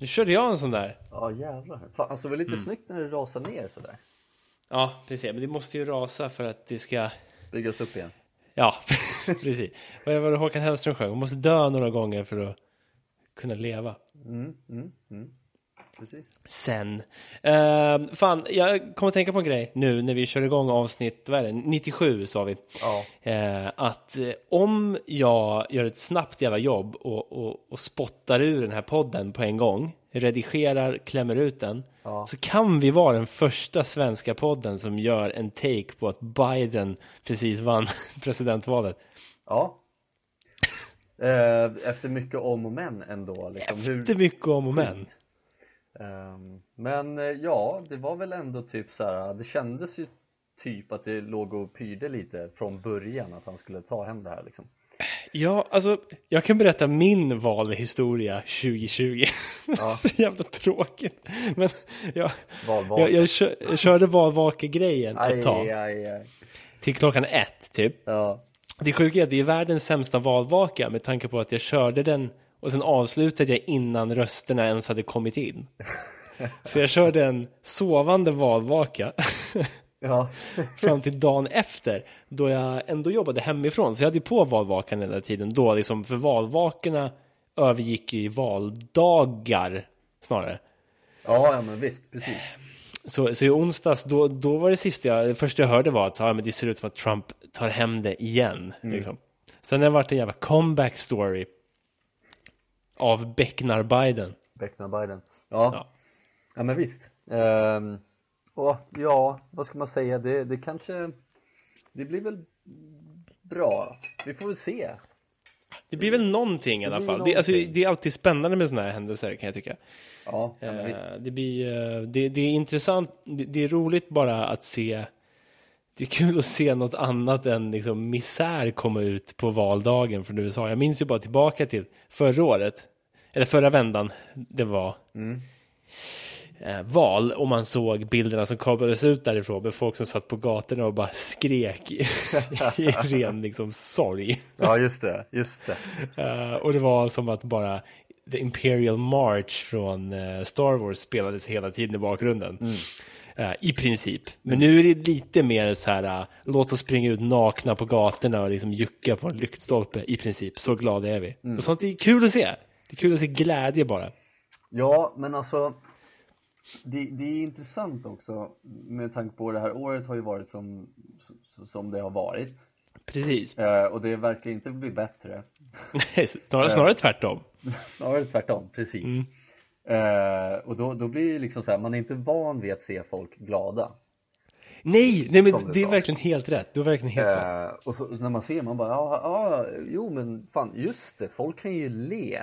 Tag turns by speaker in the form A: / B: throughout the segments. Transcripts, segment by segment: A: Nu körde jag en sån där.
B: Ja jävlar. Fan, alltså det var lite snyggt när det rasade ner sådär.
A: Ja, precis. Men det måste ju rasa för att det ska...
B: Byggas upp igen.
A: Ja, precis. Vad var det Håkan Hellström sjöng? Man måste dö några gånger för att kunna leva.
B: Precis.
A: Sen. Ehm, fan, jag kommer att tänka på en grej nu när vi kör igång avsnitt, vad är det, 97 sa vi.
B: Ja.
A: Eh, att eh, om jag gör ett snabbt jävla jobb och, och, och spottar ur den här podden på en gång, redigerar, klämmer ut den,
B: Ja.
A: så kan vi vara den första svenska podden som gör en take på att Biden precis vann presidentvalet.
B: Ja. Eh, Efter mycket om och men ändå. Liksom. Hur-
A: Efter mycket om och men.
B: Ehm, Men eh, ja, det var väl ändå typ så här. Det kändes ju typ att det låg och pyrde lite från början att han skulle ta hem det här liksom.
A: Ja, alltså, jag kan berätta min valhistoria 2020. så jävla tråkigt. Men jag,
B: Valvaka.
A: jag, jag, kö, jag körde valvaka-grejen ett
B: Aj,
A: tag.
B: aj, aj.
A: Till klockan ett, typ.
B: Ja,
A: Det sjuka är att det är världens sämsta valvaka med tanke på att jag körde den och sen avslutade jag innan rösterna ens hade kommit in. Så jag körde en sovande valvaka
B: ja,
A: fram till dagen efter då jag ändå jobbade hemifrån. Så jag hade ju på valvakan hela tiden då, liksom, för valvakorna övergick ju i valdagar snarare.
B: ja, ja men visst, precis.
A: Så, så i onsdags, då, då var det sista jag, det första jag hörde var att så, ja, men det ser ut som att Trump tar hem det igen. Liksom. Sen har det varit en jävla comeback story av Becknar Biden.
B: Becknar Biden. Ja.
A: Ja.
B: ja, men visst. Ehm, och ja, vad ska man säga? Det, det kanske, det blir väl bra. Vi får väl se.
A: Det blir väl någonting i alla
B: blir
A: fall. Det,
B: någonting.
A: alltså, det är alltid spännande med sådana här händelser kan jag tycka.
B: Ja, ja men visst.
A: Eh, Det, blir, eh, det, det är intressant, det, det är roligt bara att se det är kul att se något annat än liksom misär komma ut på valdagen från USA. Jag minns ju bara tillbaka till förra året, eller förra vändan det var
B: Mm.
A: eh, val och man såg bilderna som kablades ut därifrån med folk som satt på gatorna och bara skrek i, i ren liksom sorg.
B: Ja, just det, just det.
A: Eh, och det var som att bara The Imperial March från eh, Star Wars spelades hela tiden i bakgrunden.
B: Mm.
A: Eh, I princip. Men nu är det lite mer så här, eh, låt oss springa ut nakna på gatorna och liksom jucka på en lyktstolpe i princip. Så glada är vi.
B: Mm.
A: Och sånt är kul att se. Det är kul att se glädje bara.
B: Ja, men alltså det, det är intressant också med tanke på det här året har ju varit som, som det har varit
A: Precis.
B: eh, och det verkar inte bli bättre.
A: Nej, snarare, snarare tvärtom.
B: Snarare tvärtom, precis.
A: Mm.
B: Eh, och då, då blir det liksom så här, man är inte van vid att se folk glada.
A: Nej, nej men
B: Som du
A: det är
B: sa.
A: verkligen helt rätt. Du har verkligen helt rätt.
B: Eh, och så, så när man ser man bara, ja, ja, jo men fan, just det, folk kan ju le.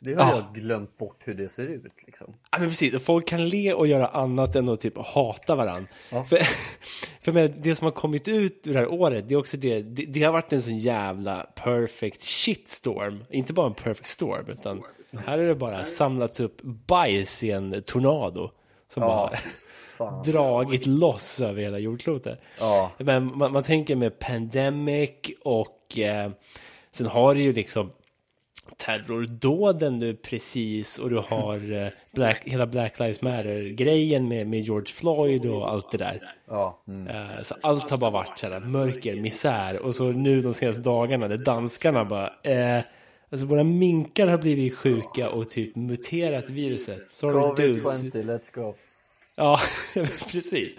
B: Det har
A: Ja.
B: jag glömt bort hur det ser ut liksom.
A: Ja, men precis. Och Folk kan le och göra annat än att typ hata varandra.
B: Ja.
A: För, för med det som har kommit ut ur det här året, det är också det, det, det har varit en sån jävla perfect shitstorm. Inte bara en perfect storm, utan här är det bara samlats upp bajs i en tornado. Som
B: Ja,
A: bara
B: fan.
A: dragit loss över hela jordklotet.
B: Ja.
A: Men man, man tänker med pandemic och eh, sen har du ju liksom terrordåden nu precis och du har eh, Black, hela Black Lives Matter-grejen med, med George Floyd och allt det där.
B: Ja, mm.
A: Eh, Så allt har bara varit sådär mörker, misär och så nu de senaste dagarna där danskarna bara eh, Alltså våra minkar har blivit sjuka och typ muterat viruset. Sorry dudes.
B: Covid-20, let's go.
A: Ja, precis.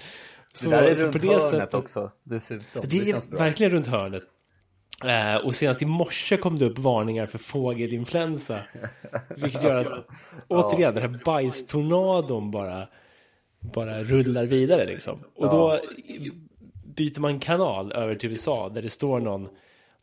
A: Så,
B: det där är
A: så alltså,
B: runt
A: på det
B: hörnet
A: sättet,
B: också dessutom.
A: Det
B: känns
A: är
B: bra.
A: verkligen runt hörnet. Eh, och senast i morse kom det upp varningar för fågelinfluensa. Vilket gör att återigen den här bajstornadon bara, bara rullar vidare liksom. Och då byter man kanal över till USA där det står någon,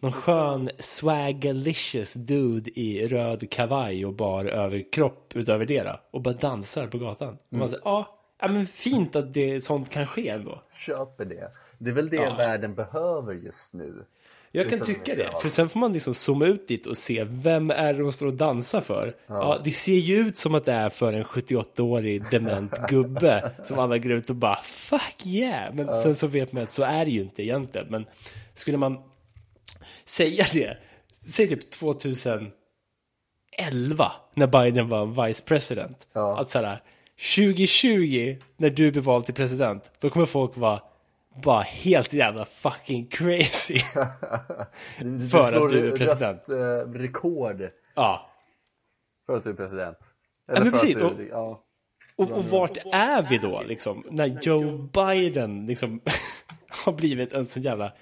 A: någon skön swagalicious dude i röd kavaj och bar överkropp utöver det då, Och bara dansar på gatan. Och
B: Mm.
A: man säger ja, ja men fint att det, sånt kan ske ändå.
B: Köper det. Det är väl det världen behöver just nu.
A: Jag kan
B: Liksom,
A: tycka det,
B: ja.
A: för sen får man liksom zooma ut dit och se vem är det de står och dansar för. Ja. det ser ju ut som att det är för en 78-årig dement gubbe som alla går ut och bara fuck yeah. Men sen så vet man att så är det ju inte egentligen. Men skulle man säga det, säg typ 2001 2011 när Biden var vice president.
B: Ja.
A: Att så här, 2020 när du blir vald till president, då kommer folk vara bara helt jävla fucking crazy.
B: Du- du
A: För att
B: slår
A: du är president.
B: Röst, eh, rekord
A: ja.
B: för att du är president.
A: men
B: för att
A: precis,
B: du-
A: och-
B: ja.
A: Och, och vart är vi då liksom? När Joe Biden liksom har blivit en sån jävla...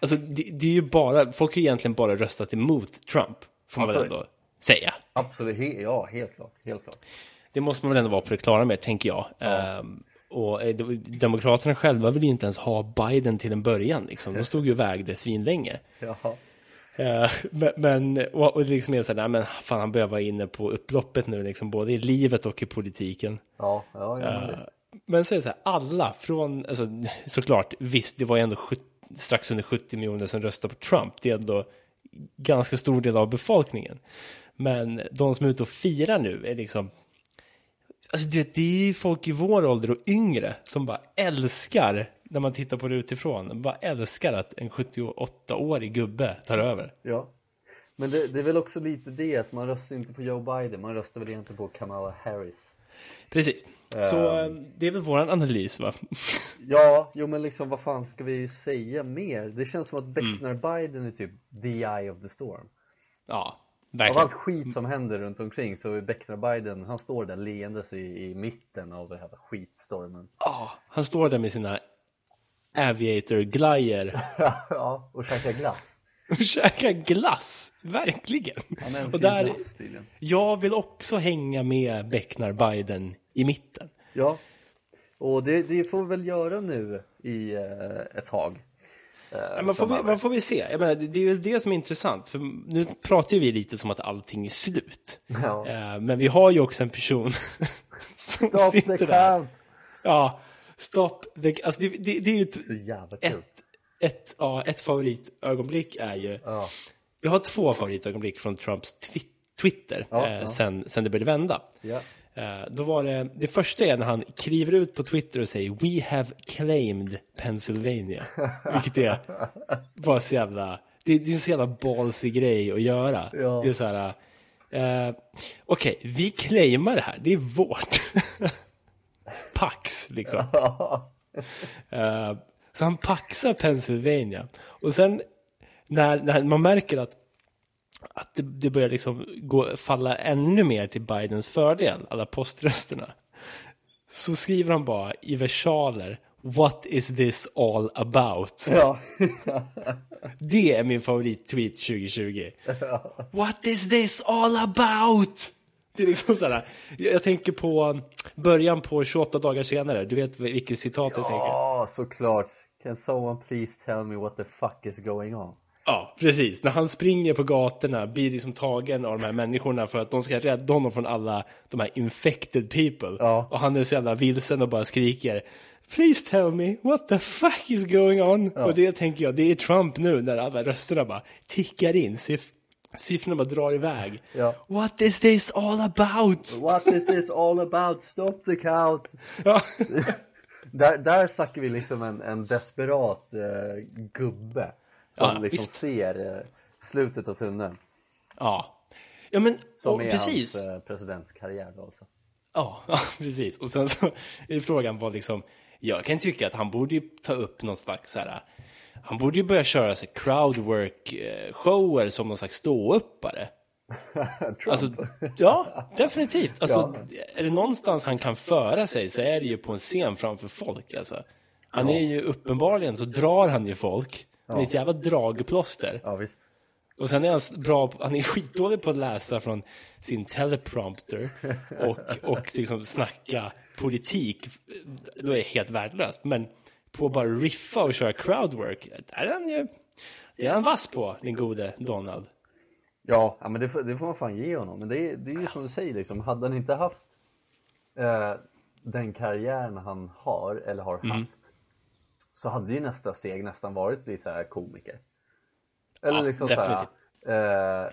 A: Alltså det, det är ju bara, folk har ju egentligen bara röstat emot Trump. Får man väl
B: Alltså-
A: ändå säga.
B: Absolut, he, ja helt klart. Helt klart.
A: Det måste man väl ändå vara på det klara med, tänker jag. Ehm, och eh, de- Demokraterna själva vill ju inte ens ha Biden till en början. Liksom. De stod ju och vägde svinlänge.
B: Ja.
A: Eh, men, men och, och det liksom är så här, nej men fan han börjar vara inne på upploppet nu, liksom, både i livet och i politiken.
B: Ja, ja, ja, men
A: Eh.
B: det-
A: Men så är det så här, alla från, alltså, såklart, visst, det var ju ändå 70, strax under 70 miljoner som röstade på Trump. Det är ändå ganska stor del av befolkningen. Men de som är ute och firar nu är liksom, alltså du vet, det är ju folk i vår ålder och yngre som bara älskar, när man tittar på det utifrån, bara älskar att en 78-årig gubbe tar över.
B: ja. Men det, det är väl också lite det att man röstar inte på Joe Biden, man röstar väl egentligen på Kamala Harris.
A: Precis. Så eh, det är väl våran analys va?
B: Ja, jo men liksom vad fan ska vi säga mer? Det känns
A: Mm.
B: som att Becknar Biden är typ the eye of the storm.
A: ja,
B: Av
A: verkligen.
B: allt skit som händer runt omkring så är Becknar Biden, han står där leendes i, i mitten av den här skitstormen.
A: Ja, Ah, han står där med sina aviator-glajjor
B: ja, och käkar glass.
A: och käkar glass. Verkligen.
B: Han älskar
A: Och
B: ju
A: där,
B: glass tydligen.
A: jag vill också hänga med Becknar Biden i mitten.
B: Ja, och det, det får vi väl göra nu i eh, ett tag. Eh,
A: Man får, vi,
B: framöver.
A: man får vi se. Jag menar, det, det är väl det som är intressant. För nu pratar ju vi lite som att allting är slut.
B: Ja.
A: Eh, Men vi har ju också en person som
B: Stop the
A: sitter där.
B: count!
A: Ja, stopp. Det, alltså det, det, det är ju ett,
B: Så jävla kul.
A: ett, ett, ja, ett favoritögonblick är ju
B: Ja.
A: Jag har två favoritögonblick från Trumps twi- Twitter
B: Ja,
A: eh,
B: ja.
A: Sen, sen det började vända.
B: Ja.
A: Eh, då var det, det första är när han kliver ut på Twitter och säger We have claimed Pennsylvania. Vilket är bara så jävla, det, det är en så jävla ballsy grej att göra.
B: Ja.
A: Det är så här, eh, okej, vi claimar det här, det är vårt. Pax liksom. Eh, Så han paxar Pennsylvania. Och sen när, när man märker att, att det, det börjar liksom gå, falla ännu mer till Bidens fördel, alla poströsterna, så skriver han bara i versaler What is this all about?
B: Ja.
A: Det är min favorittweet 2020. What is this all about? Det är liksom såhär, jag, jag tänker på början på 28 dagar senare, du vet vilket citat jag tänker?
B: ja, såklart. Can someone please tell me what the fuck is going on?
A: Ja, precis. När han springer på gatorna blir liksom tagen av de här människorna för att de ska rädda honom från alla de här infected people.
B: Ja.
A: Och han är så jävla vilsen och bara skriker Please tell me, what the fuck is going on? Och det tänker jag, det är Trump nu när alla rösterna bara tickar in. Siff- siffrorna bara drar iväg.
B: Ja.
A: What is this all about?
B: What is this all about? Stop the count!
A: Ja.
B: Där, där snackar vi liksom en, en desperat eh, gubbe som
A: Ja,
B: liksom
A: visst.
B: ser eh, slutet av tunneln.
A: ja. Ja men,
B: Som
A: och,
B: är
A: precis.
B: hans eh, presidentskarriär då alltså.
A: Ja, ja, precis. Och sen så är frågan var liksom, jag kan tycka att han borde ju ta upp någon slags så här, han borde ju börja köra så här crowdwork eh, shower som någon slags ståuppare.
B: Trump.
A: Alltså, ja, definitivt. Alltså, är det någonstans han kan föra sig så är det ju på en scen framför folk alltså. Han är ju uppenbarligen så drar han ju folk. Han är ett jävla dragplåster.
B: Ja visst.
A: Och sen är han bra, på- han är skitdålig på att läsa från sin teleprompter och, och liksom snacka politik. Då är det helt värdelöst. Men på att bara riffa och köra crowdwork, där är han ju, det är han vass på, den gode Donald.
B: Ja, ja men det, får- det får man fan ge honom. Men det, är- det är ju som du säger liksom, hade han inte haft eh, den karriären han har, eller har haft, så hade ju nästa steg nästan varit att bli så här komiker. Eller
A: Ja,
B: liksom så här, eh,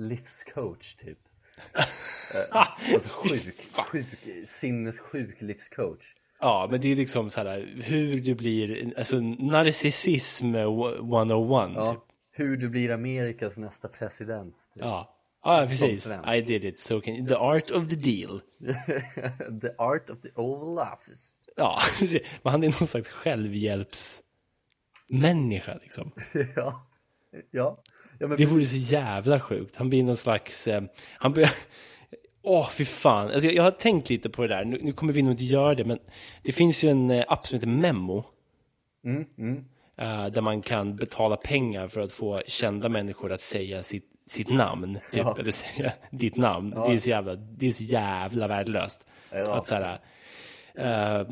B: livscoach typ. eh, alltså sjuk, sjuk, sinnessjuk livscoach.
A: Ja, men det är liksom så här hur du blir, alltså narcissism 101.
B: Ja,
A: Typ.
B: hur du blir Amerikas nästa president. Typ.
A: Ja. Ja, precis.
B: trend.
A: I did it. So can The art of the deal.
B: the art of the oval office.
A: Ja, precis. Men han är någon slags självhjälpsmänniska liksom.
B: ja. ja. Ja, men
A: Det vore så jävla sjukt. Han blir någon slags... Eh, han blir... Åh, fy fan. Alltså, jag, jag har tänkt lite på det där. Nu, nu kommer vi nog inte göra det, men det finns ju en eh, app som heter Memo.
B: Mm, mm.
A: eh, där man kan betala pengar för att få kända människor att säga sitt, sitt namn. Typ,
B: Ja.
A: Eller säga ditt namn. Det, är så jävla, det är så jävla värdelöst.
B: Ja.
A: Att så här, eh,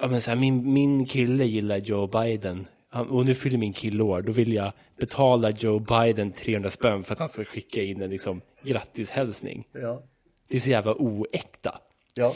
A: ja, men så här, min, min kille gillar Joe Biden. Han, och nu fyller min kille år. Då vill jag betala Joe Biden 300 spänn för att han ska skicka in en liksom, grattishälsning.
B: ja.
A: Det är så jävla oäkta.
B: Ja.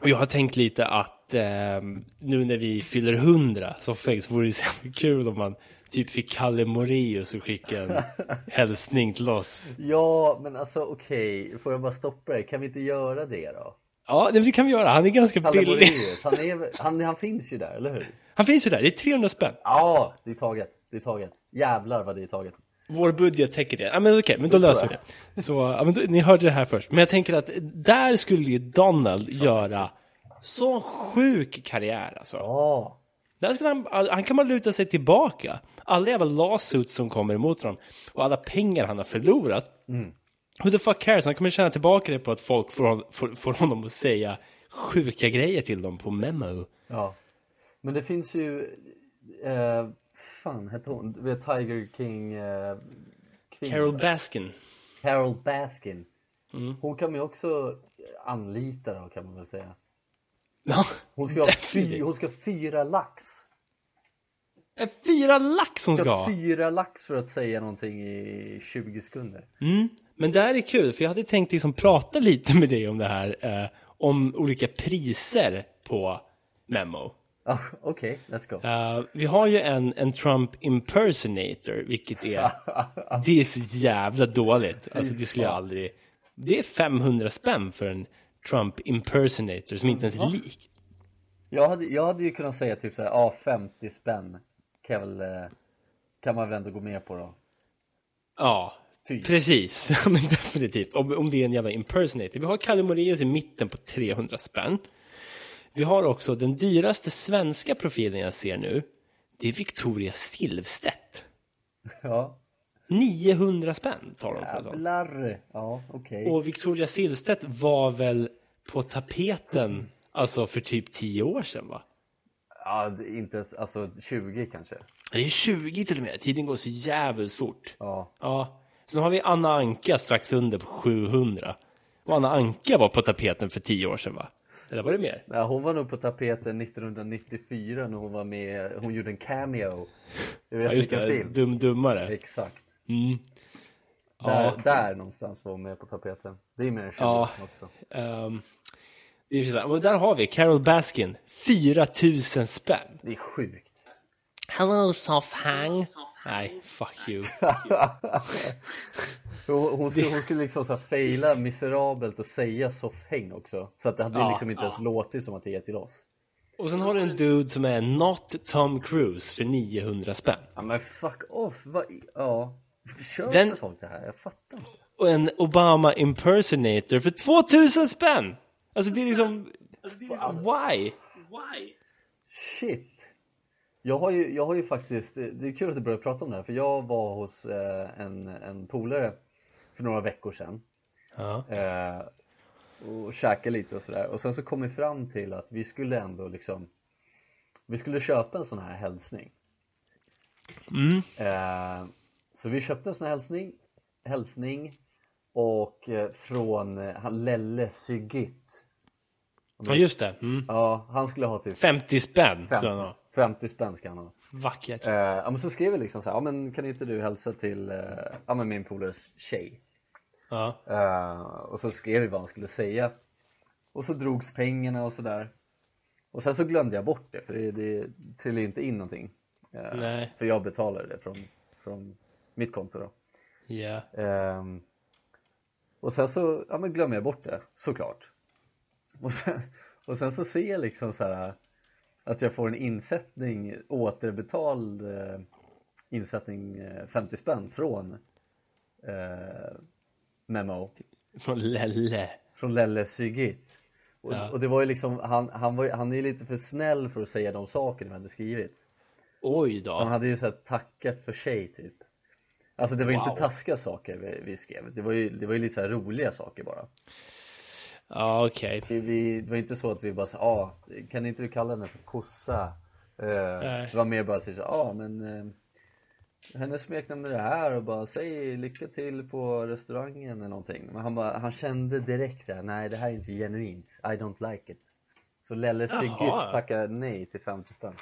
A: Och jag har tänkt lite att eh, nu när vi fyller 100 som fäng så vore det så jävla kul om man typ fick Kalle Moraeus och skicka en hälsning till oss.
B: ja, men alltså okej, får jag bara stoppa dig? Kan vi inte göra det då?
A: Ja, det kan vi göra. Han är ganska
B: Kalle
A: billig.
B: Moraeus, han, är, han, han finns ju där, eller hur?
A: Han finns ju där. Det är 300 spänn.
B: Ja, det är taget, det är taget. Jävlar vad det är taget.
A: Vår budget täcker det. Ja, men okej, men då löser vi det. Så, ja, men då, ni hörde det här först. Men jag tänker att där skulle ju Donald göra så sjuk karriär alltså.
B: Ja,
A: Där skulle han, han kan bara luta sig tillbaka. Alla jävla lawsuits som kommer emot honom och alla pengar han har förlorat.
B: Mm.
A: Who the fuck cares? Han kommer tjäna tillbaka det på att folk får, hon- får, får honom att säga sjuka grejer till dem på memo.
B: ja. Men det finns ju, eh, fan hette hon, du vet Tiger King, eh, kvinnan?
A: Carol Mm. Baskin.
B: Carol Baskin. Hon kan man ju också anlita då kan man väl säga.
A: Ja,
B: Hon ska, ha fy,
A: definitivt.
B: hon ska ha fyra lax.
A: Fyra lax hon
B: Hon
A: ska
B: ska ha
A: ha.
B: fyra lax för att säga någonting i 20 sekunder.
A: Men det här är kul, för jag hade tänkt liksom prata lite med dig om det här. Eh, om olika priser på memo.
B: Ja, Okej, let's go.
A: Eh, vi har ju en, en Trump impersonator, vilket är... Det är så jävla dåligt. Alltså det skulle jag aldrig... Det är 500 spänn för en Trump impersonator som inte ens är lik.
B: Jag hade, jag hade ju kunnat säga typ såhär, ja ah, 50 spänn kan, jag väl, eh, kan man väl ändå gå med på då.
A: Ja,
B: Typ.
A: precis. Men definitivt. Om, om det är en jävla impersonator. Vi har Kalle Moraeus i mitten på 300 spänn. Vi har också den dyraste svenska profilen jag ser nu. Det är Victoria Silvstedt.
B: Ja,
A: 900 spänn tar de för ett sånt.
B: jävlar. Ja, okej.
A: Och Victoria Silvstedt var väl på tapeten alltså för typ 10 år sedan va?
B: Ja, det är inte ens, alltså 20 kanske.
A: Det är 20 till och med, tiden går så jävligt fort.
B: Ja,
A: Ja. Sen har vi Anna Anka strax under på 700. Och Anna Anka var på tapeten för 10 år sedan va? Eller var det mer?
B: Nej, hon var nog på tapeten 1994 när hon var med, hon gjorde en cameo. Jag vet
A: Ja just
B: vilken
A: det,
B: film.
A: Dum Dummare.
B: Exakt. Där,
A: Ja.
B: där någonstans var hon med på tapeten. Det är mer än 20
A: Ja.
B: också.
A: Ehm, det är så här. Och där har vi Carol Baskin, 4000 spänn.
B: Det är sjukt.
A: Hello soft hang. Nej, fuck you.
B: Hon, hon, skulle, hon skulle liksom så här faila miserabelt och säga soffhäng också. Så att det hade
A: Ja,
B: liksom inte ens låtit som att det är till oss.
A: Och sen har du en dude som är not Tom Cruise för 900 spänn.
B: Ja men fuck off, vad, i- ja. Kör
A: Den-
B: Den... folk det här? Jag fattar inte.
A: Och en Obama impersonator för 2000 spänn! Alltså det är liksom... Why?
B: Shit! Jag har, ju, jag har ju faktiskt, eh, det det är kul att du börjar prata om det här för jag var hos eh, en, en polare för några veckor sedan
A: Ja.
B: eh, och käkade lite och sådär och sen så kom vi fram till att vi skulle ändå liksom vi skulle köpa en sån här hälsning eh, Så vi köpte en sån här hälsning, hälsning och eh, från eh, han Lelle Sygytt
A: ja, just det. Mm.
B: Ja, han skulle ha typ
A: 50 spänn, sa han. ha.
B: 50 spänn ska han ha
A: Vackert.
B: Eh, ja, men så skrev jag liksom så här, ja men kan inte du hälsa till eh, ja, men min polares tjej?
A: Ja.
B: Eh, och så skrev vi vad han skulle säga. Och så drogs pengarna och sådär. Och sen så glömde jag bort det, för det, det trillade inte in någonting. Eh,
A: Nej.
B: För jag betalade det från, från mitt konto då.
A: Ja.
B: Ehm, och sen så ja, men glömmer jag bort det, såklart. Och sen, och sen så ser jag liksom så här att jag får en insättning, återbetald eh, insättning eh, 50 spänn från eh, memo
A: Från Lelle.
B: från Lelle Sygit. Och,
A: Ja.
B: och det var ju liksom, han, han, var, ju- han är ju lite för snäll för att säga de sakerna han hade skrivit.
A: Oj
B: Han
A: då.
B: hade ju så här tackat för sig typ. Alltså det var ju
A: Wow.
B: inte taskiga saker vi, vi skrev, det var, ju, det var ju lite så här roliga saker bara.
A: Ja, okej.
B: Vi, vi, det var inte så att vi bara sa, ah, kan inte du kalla henne för kossa? Eh, det var mer bara så ja ah, men eh, hennes smeknamn är det här och bara säg lycka till på restaurangen eller någonting. Men han, bara, han kände direkt så här, nej det här är inte genuint, I don't like it. Så Lelle Sigge
A: Jaha.
B: tackade nej till 50 spänn.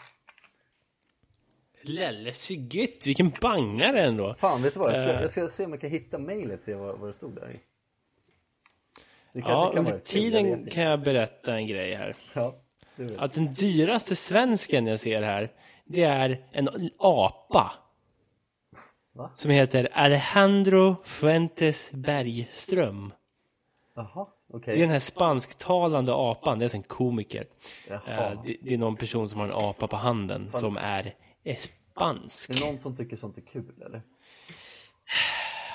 A: Lelle Siggytt, vilken bangare ändå.
B: Fan, vet du vad? Jag ska,
A: Eh.
B: jag ska se om jag kan hitta mejlet och se vad, vad det stod där i. Det kanske
A: Ja,
B: kan
A: under
B: vara kul, jag vet
A: tiden
B: inte.
A: kan jag berätta en grej här.
B: Ja, det vet.
A: Att den dyraste svensken jag ser här, det är en apa.
B: Va?
A: Som heter Alejandro Fuentes Bergström.
B: Jaha,
A: Det är
B: okej.
A: den här spansktalande apan, det är alltså en komiker.
B: Jaha.
A: Eh, Det, det är någon person som har en apa på handen som är är spansk.
B: Det är någon som tycker sånt är kul eller?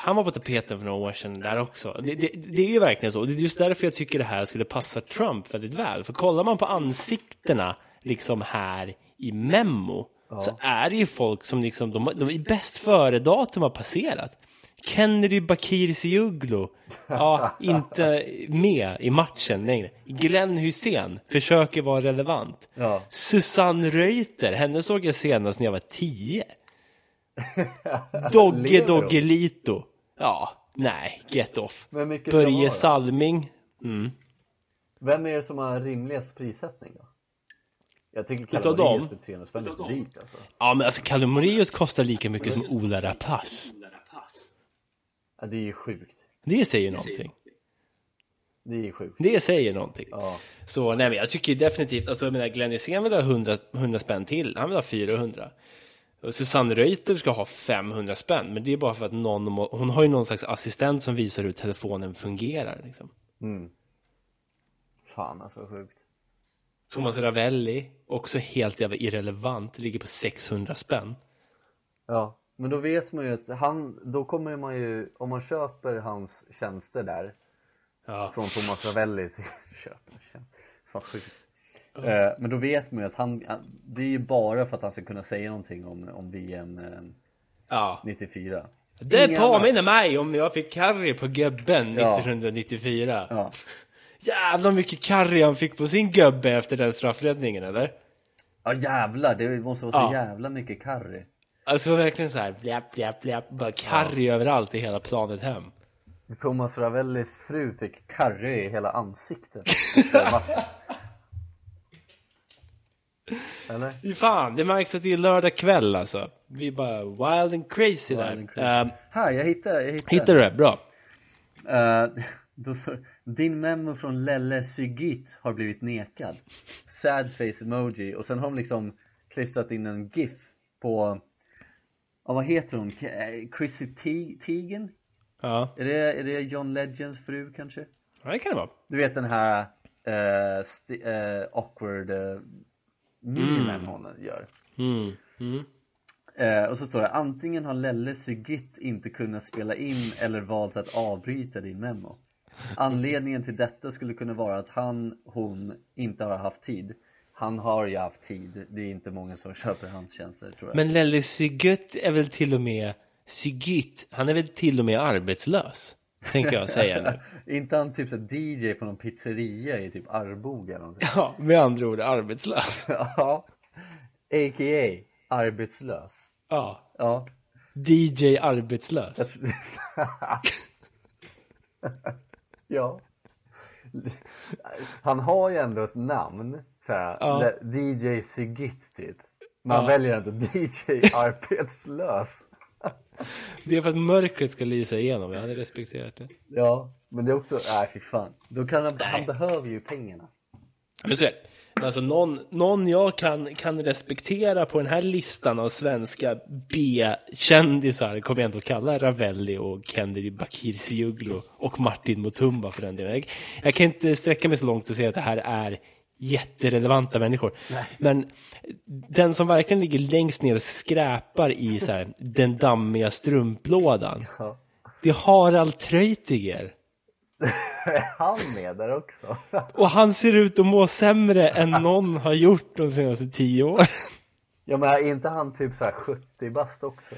A: Han var på tapeten för några år sedan där också. Det, det, det är ju verkligen så. Det är just därför jag tycker det här skulle passa Trump väldigt väl. För kollar man på ansiktena liksom här i Memo så är det ju folk som liksom, de, de i bäst före-datum har passerat. Kennedy Bakircioglu, ja, inte med i matchen längre. Glenn Hussein försöker vara relevant.
B: Ja.
A: Susanne Reuter, henne såg jag senast när jag var tio. Dogge
B: Lever hon?
A: Doggelito. Ja, nej, get off.
B: Men mycket ska vara
A: Börje
B: då?
A: Salming.
B: Vem är det som har rimligast prissättning då? Jag tycker Kalle
A: Utav dem?
B: Marius för 300 spänn är dyrt alltså.
A: Ja, men alltså Kalle Moraeus kostar lika mycket som Ola Rapace.
B: Ja, det är ju sjukt.
A: Det säger någonting.
B: Det är ju sjukt.
A: Det säger någonting.
B: Ja.
A: Så nej, men jag tycker ju definitivt, alltså jag menar Glenn Hysén vill ha 100, 100 spänn till, han vill ha 400. Och Susanne Reuter ska ha 500 spänn, men det är bara för att någon, må- hon har ju någon slags assistent som visar hur telefonen fungerar. Liksom.
B: Fan alltså sjukt.
A: Thomas Ravelli, också helt jävla irrelevant, ligger på 600 spänn.
B: Ja, men då vet man ju att han, då kommer man ju, om man köper hans tjänster där
A: Ja.
B: från Thomas Ravelli till köper tjänster. Fan sjukt. Eh, Men då vet man ju att han, han- det är ju bara för att han ska kunna säga någonting om, om VM eh,
A: ja.
B: 94.
A: Det
B: Ingen
A: påminner mig om när jag fick curry på gubben
B: Ja.
A: 1994.
B: Ja.
A: Jävlar mycket curry han fick på sin gubbe efter den straffräddningen, eller?
B: Ja jävlar, det måste vara så
A: Ja.
B: jävla mycket curry.
A: Alltså det var verkligen så här, bläpp, bläpp, bläpp, bara karry överallt i hela planet hem.
B: Thomas Ravellis fru fick karry i hela ansiktet efter matchen. Eller?
A: Fy Fan, det märks att det är lördag kväll alltså. Vi är bara wild and crazy där.
B: and
A: Ehm,
B: Här, jag hittade, jag hittade.
A: hittar du det? Bra.
B: Eh, då så, din memo från Lelle Sygit har blivit nekad. Sad face emoji och sen har de liksom klistrat in en GIF på, ja vad heter hon? K- eh, Chrissy Te- Teigen?
A: Ja,
B: Är det, är det John Legends fru kanske?
A: ja det kan det vara.
B: Du vet den här eh, sti- eh, awkward eh, memen hon gör.
A: Mm.
B: Eh, och så står det antingen har Lelle Sigit inte kunnat spela in eller valt att avbryta din memo. Anledningen till detta skulle kunna vara att han, hon inte har haft tid. Han har ju haft tid, det är inte många som köper hans tjänster tror jag.
A: Men Lelle Sygytt är väl till och med, Sygytt, han är väl till och med arbetslös? Tänker jag säga nu.
B: inte han typ så här DJ på någon pizzeria i typ Arboga eller någonting?
A: Ja, med andra ord arbetslös.
B: Ja, a.k.a. arbetslös.
A: Ja,
B: Ja,
A: DJ arbetslös.
B: ja. Han har ju ändå ett namn, såhär,
A: Ja.
B: Le- DJ Sigit typ. Man
A: Ja.
B: väljer inte DJ arbetslös.
A: Det är för att mörkret ska lysa igenom, jag hade respekterat det.
B: Ja, men det är också, nej fy fan. Då kan han, han behöver ju pengarna.
A: Ja, Men så är det. Men Alltså någon, någon jag kan, kan respektera på den här listan av svenska B-kändisar kommer jag ändå kalla Ravelli och Kennedy Bakircioglu och Martin Mutumba för den delen. Jag, jag kan inte sträcka mig så långt och säga att det här är jätterelevanta människor. Men den som verkligen ligger längst ner och skräpar i så här, den dammiga strumplådan,
B: Ja.
A: Det är Harald Treutiger.
B: Är han med där också?
A: Och han ser ut att må sämre än någon har gjort de senaste tio åren.
B: Ja men är inte han typ så här 70 bast också?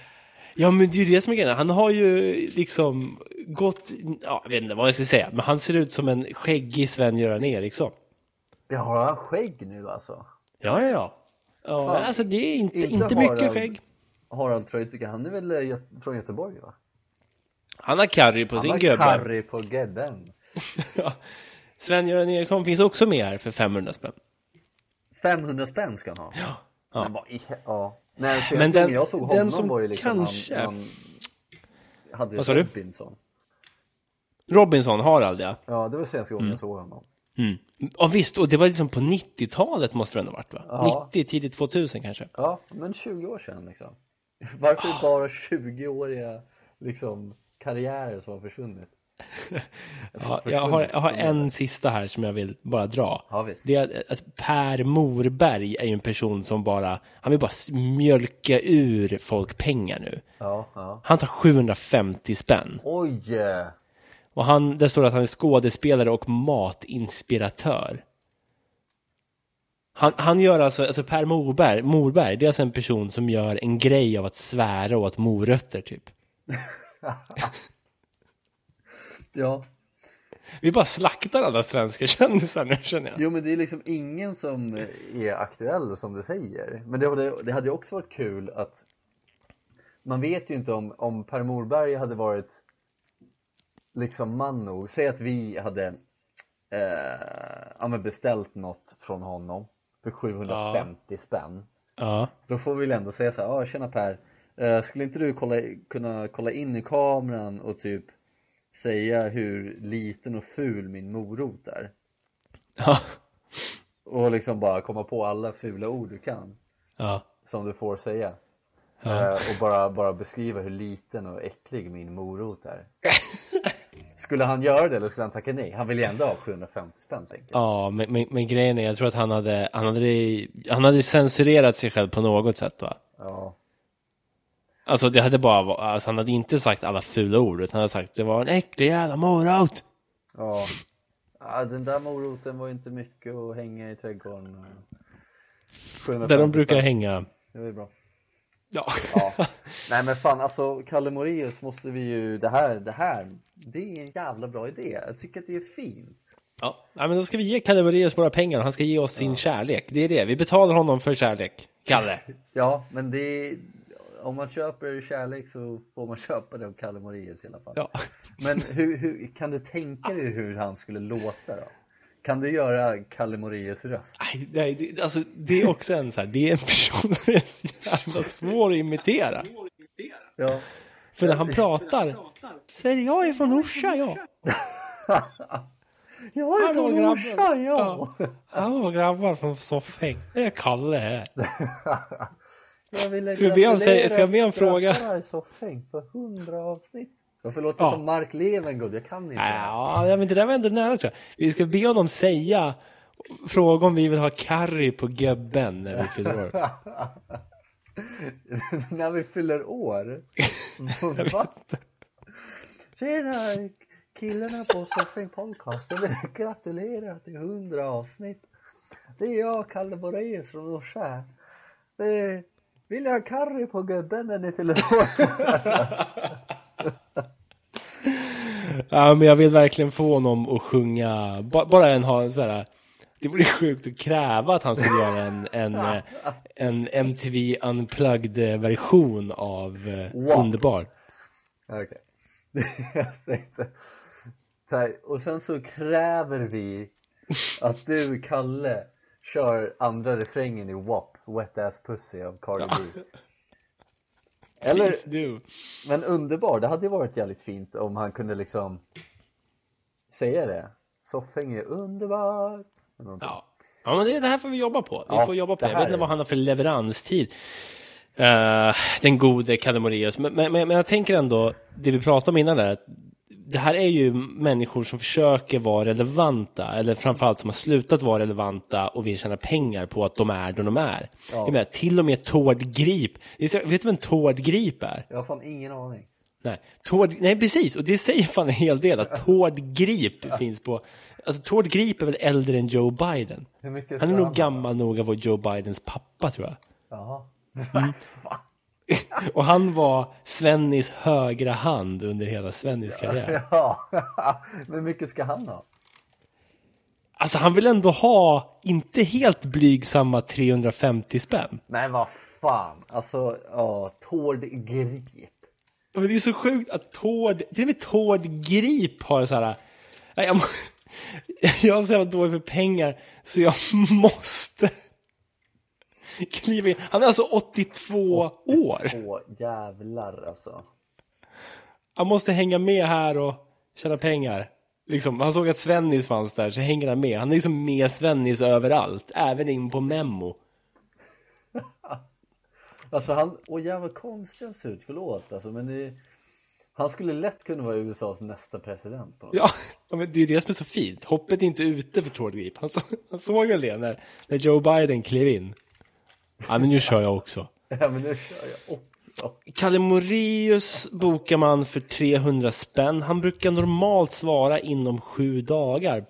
A: Ja men det är ju det som är grejen. Han har ju liksom gått, ja, jag vet inte vad jag ska säga, men han ser ut som en skäggig Sven-Göran Eriksson.
B: Ja, har han skägg nu alltså?
A: Ja, ja, ja. ja
B: Fan.
A: alltså det är inte,
B: Inte
A: inte,
B: Harald.
A: mycket skägg.
B: Harald Treutiger, han är väl eh, Gö- från Göteborg va?
A: Han har karry på
B: Han
A: sin
B: har
A: gubbe.
B: curry på gädden.
A: Ja. Sven-Göran Eriksson finns också med här för 500 spänn.
B: 500 spänn ska han ha. Ja.
A: ja.
B: Men, vad i he- ja. Nej, för
A: Men
B: jag
A: den-
B: den, jag såg
A: den
B: honom
A: som
B: var ju liksom
A: kanske-
B: han, han hade
A: Vad sa du?
B: Robinson.
A: Robinson, Harald ja.
B: Ja, det var senaste gången jag såg honom.
A: Mm. Ja visst, och det var liksom på 90-talet måste det ändå ha varit va?
B: Ja.
A: 90, tidigt 2000 kanske.
B: Ja, men 20 år sedan liksom. Varför
A: Ah.
B: bara 20-åriga liksom karriärer som har försvunnit?
A: Ja, jag, har, jag har en sista här som jag vill bara dra.
B: Ja, visst.
A: Det är att Per Morberg är ju en person som bara, han vill bara mjölka ur folk pengar nu.
B: Ja, ja.
A: Han tar 750 spänn.
B: Oj! eh,
A: Och han, där står det att han är skådespelare och matinspiratör. Han, han gör alltså, alltså Per Morberg, Morberg, det är alltså en person som gör en grej av att svära åt morötter typ.
B: Ja,
A: Vi bara slaktar alla svenska kändisar nu känner jag.
B: jo men det är liksom ingen som är aktuell som du säger. Men det, hade- det hade ju också varit kul att man vet ju inte om, om Per Morberg hade varit liksom man nog. Säg att vi hade eh, ja, men beställt något från honom för 750 spänn.
A: Ja,
B: Då får vi väl ändå säga så här, ah, tjena Per, eh, skulle inte du kolla, kunna kolla in i kameran och typ säga hur liten och ful min morot är?
A: ja,
B: Och liksom bara komma på alla fula ord du kan
A: ja.
B: som du får säga.
A: Ja.
B: Eh, och bara, bara beskriva hur liten och äcklig min morot är. Skulle han göra det eller skulle han tacka nej? Han vill ju ändå ha 750 spänn tänker jag.
A: Ja, men, men, men grejen är, jag tror att han hade, han hade, han hade censurerat sig själv på något sätt va?
B: Ja.
A: Alltså det hade bara, va- alltså, han hade inte sagt alla fula ord, utan han hade sagt det var en äcklig jävla morot.
B: Ja. ja, den där moroten var ju inte mycket att hänga i trädgården. och- 750
A: Där de
B: spänn.
A: brukar hänga.
B: Det var ju bra.
A: Ja.
B: Ja. Nej men fan alltså, Kalle Moraeus måste vi ju, det här, det här, det är en jävla bra idé. Jag tycker att det är fint.
A: ja. Nej, men då ska vi ge Kalle Moraeus våra pengar och han ska ge oss sin kärlek. Det är det, vi betalar honom för kärlek. Kalle.
B: Ja, men det är, om man köper kärlek så får man köpa det av Kalle Moraeus i alla fall.
A: Ja.
B: Men hur, hur, kan du tänka dig hur han skulle låta då? Kan du göra Kalle Moraeus röst?
A: Nej, nej det, alltså, det är också en så här, det är en person som är så jävla svår att imitera.
B: Ja.
A: För när han pratar, säger jag är från Orsa, ja.
B: Jag är
A: Hallå,
B: från
A: grabbar.
B: Orsa, ja!
A: Hallå grabbar från Soffhäng, det är Kalle här.
B: Jag ville
A: Ska vi be han säga-
B: gratulera
A: ska jag be han fråga?
B: Grabbar i soffhäng för hundra avsnitt. Varför låter
A: Ja.
B: som Mark Levengood? Jag kan inte.
A: Ja, men det där var ändå nära tror jag. Vi ska be honom säga, fråga om vi vill ha curry på göbben när vi fyller år.
B: När vi fyller år? Va? Tjena killarna på Surfing Podcast. Jag vill gratulera till 100 avsnitt. Det är jag, Kalle Moraeus från Orsa. här. Det är- Vill jag ha curry på gubben när ni fyller år?
A: Ja, men jag vill verkligen få honom att sjunga, ba- bara en ha en så här. Det vore sjukt att kräva att han skulle göra en, en, eh, en MTV Unplugged-version av eh,
B: Wow.
A: Underbar.
B: Okej. Jag tänkte. Så här, och sen så kräver vi att du, Kalle, kör andra refrängen i WAP, Wet Ass Pussy av Cardi B. Eller,
A: Please do.
B: men underbar, det hade ju varit jävligt fint om han kunde liksom säga det. Soffhäng är underbar. Eller någonting.
A: Ja. ja, men det, det här får vi jobba på. Vi
B: Ja,
A: får jobba på
B: det
A: det. Jag vet
B: här
A: inte
B: är-
A: vad han har för leveranstid. Eh, den gode Kalle Moraeus. Men, men, men men jag tänker ändå, det vi pratade om innan där, att det här är ju människor som försöker vara relevanta, eller framförallt som har slutat vara relevanta och vill tjäna pengar på att de är de de är. Jag menar, till och med Tord Grip. Det är så- Vet du vem Tord Grip är?
B: Jag har fan ingen aning.
A: Nej, Tord, nej precis, och det säger fan en hel del att Tord Grip finns på... Alltså Tord Grip är väl äldre än Joe Biden?
B: Hur mycket
A: Han är
B: ska
A: nog gammal nog att vara Joe Bidens pappa tror jag.
B: Jaha. Va?
A: Och han var Svennis högra hand under hela Svennis karriär.
B: Ja. Men hur mycket ska han ha?
A: Alltså han vill ändå ha, inte helt blygsamma 350 spänn.
B: Nej vad fan. Alltså, ja, Tord Grip.
A: Men det är så sjukt att Tord, till och med Tord Grip har så här, nej, jag, må- jag har så jävla dåligt med pengar så jag måste kliva in. Han är alltså 82 år.
B: Åh jävlar alltså.
A: Han måste hänga med här och tjäna pengar. Liksom, han såg att Svennis fanns där så hänger han med. Han är liksom med Svennis överallt, även in på Memo.
B: Alltså han, åh jävlar konstig han ser ut, förlåt alltså men det, Han skulle lätt kunna vara USAs nästa president på något
A: Ja, ja, men det är ju det som är så fint. Hoppet är inte ute för Tord Grip. Han, så, han såg väl det när, när Joe Biden klev in. Ja, men nu kör jag också.
B: sätt. Ja men nu kör jag också.
A: Kalle Moreus bokar man för 300 spänn. Han brukar normalt svara inom sju dagar.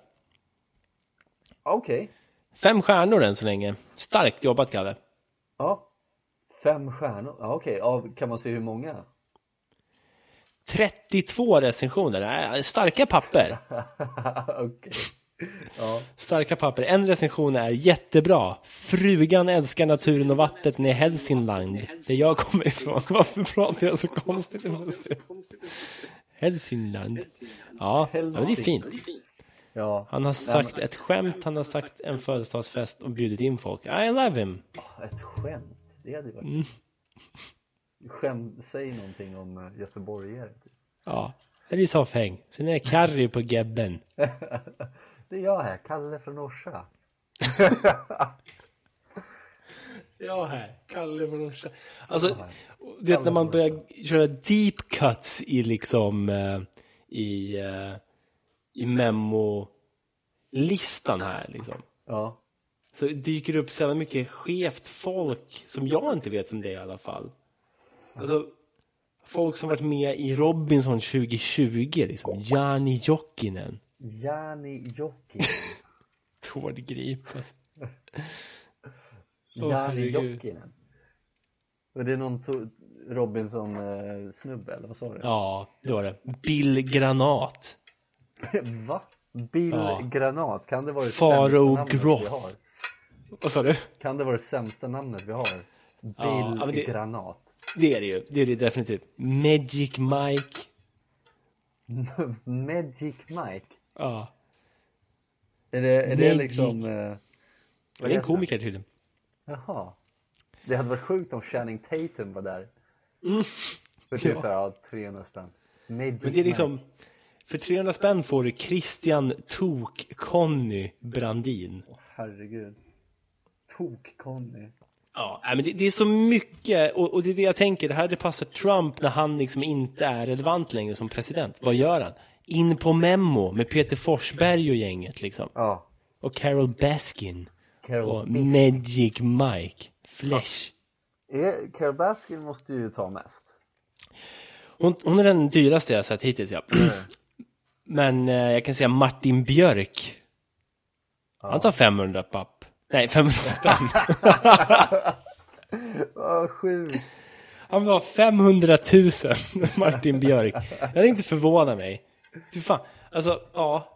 B: Okej.
A: Fem stjärnor än så länge. Starkt jobbat, Kalle.
B: Ja. Fem stjärnor. Ja okej, ja, kan man se hur många?
A: 32 recensioner. Nej, Starka papper.
B: okej. Ja.
A: Starka papper. En recension är jättebra. Frugan älskar naturen och vattnet i Hälsingland. Där jag kommer ifrån. Varför pratar jag så konstigt? i munnen? Hälsingland. Ja, ja, men det är fint.
B: Ja.
A: Han har sagt ett skämt, han har sagt en födelsedagsfest och bjudit in folk. I love him.
B: Ett skämt. Det hade ju
A: Mm.
B: varit. Skämt, säg någonting om eh, göteborgare. typ.
A: Ja, det är så fäng. Sen är det curry på gebben.
B: Det är jag här, Kalle från Orsa.
A: Ja, här. Kalle från Orsa. Alltså, du vet när man börjar köra deep cuts i liksom eh, i, eh, i memo-listan här liksom.
B: Ja.
A: Så dyker det upp så jävla mycket skevt folk som jag inte vet om det är i alla fall. Alltså, folk som varit med i Robinson 2020 liksom. Jani Jokinen.
B: Jani Jokki.
A: Tord Grip. Alltså. Åh,
B: Jari
A: herregud.
B: Jokinen. Och det är någon to- Robinson-snubbe eller vad sa du?
A: Ja, det var det. Bill Granat.
B: Va? Bill
A: Ja.
B: Granat, kan det vara det
A: Faro
B: sämsta namnet vi
A: Groth.
B: har?
A: Vad sa du?
B: Kan det vara det sämsta namnet vi har? Bill
A: Ja, men det-
B: Granat.
A: Det är det ju. Det är det definitivt. Magic Mike.
B: Magic Mike.
A: Ja.
B: Är det, är det
A: Magic.
B: liksom... eh,
A: Det är en komiker tydligen.
B: Jaha. Det hade varit sjukt om Channing Tatum var där. För typ
A: Mm. Ja.
B: såhär, ja, 300 spänn.
A: Men
B: Magic
A: det är
B: Mike.
A: liksom... För 300 spänn får du Christian Tok-Conny Brandin.
B: Herregud. Tok-Conny.
A: Ja, nej, men det, det är så mycket. Och, och det är det jag tänker. Det här det passar Trump när han liksom inte är relevant längre som president. Vad gör han? In på Memo med Peter Forsberg och gänget liksom.
B: Ja.
A: Och Carol Baskin.
B: Carol
A: Och Magic Mike. Flash.
B: Är- Eh, Carol Baskin måste ju ta mest.
A: Hon, hon är den dyraste jag sett hittills, ja. Men eh, jag kan säga Martin Björk. Han tar 500 papp. Nej, 500 spänn.
B: Ja, sjukt.
A: Han vill ha 500 000, Martin Björk. Jag hade inte förvånat mig. Fy fan. Alltså, ja.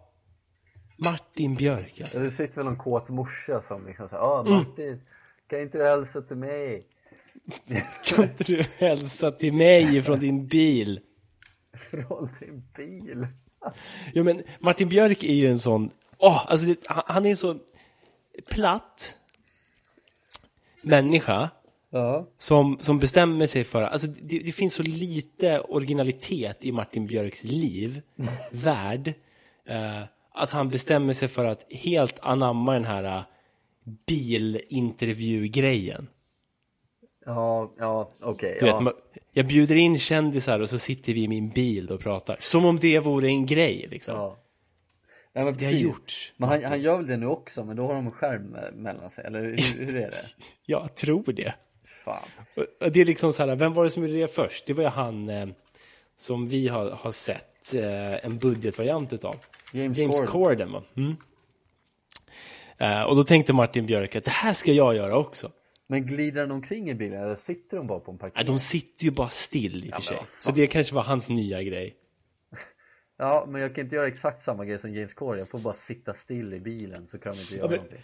A: Martin Björk, alltså.
B: Det sitter väl någon kåt morsa som liksom såhär, ja
A: Mm.
B: Martin, kan inte du hälsa till mig?
A: Kan inte du hälsa till mig från din bil?
B: Från din bil.
A: Ja, men Martin Björk är ju en sån... Åh, alltså, det, han, han är så platt människa.
B: Ja.
A: som, som bestämmer sig för, alltså det, det finns så lite originalitet i Martin Björks liv, värld, eh, att han bestämmer sig för att helt anamma den här eh, bilintervjugrejen.
B: Ja, ja, okej.
A: Du vet,
B: ja.
A: man- jag bjuder in kändisar och så sitter vi i min bil och pratar. Som om det vore en grej liksom.
B: ja. Nej, men
A: Det har
B: precis.
A: gjorts.
B: Men han, han gör väl det nu också, men då har de en skärm me- mellan sig, eller hur, hur är det?
A: Jag tror det.
B: Fan.
A: Och- och Det är liksom så här, vem var det som gjorde det först? Det var ju han eh, som vi har, har sett eh, en budgetvariant utav.
B: James,
A: James
B: Corden.
A: Corden. va? Mm. Eh, och då tänkte Martin Björk att det här ska jag göra också.
B: Men glider han omkring i bilen eller sitter de bara på en
A: Ja,
B: parkering?
A: de sitter ju bara still i och för
B: men
A: sig.
B: vad fan.
A: Så det kanske var hans nya grej.
B: Ja, men jag kan inte göra exakt samma grej som James Corden. Jag får bara sitta still i bilen så kan de inte göra
A: men-
B: någonting.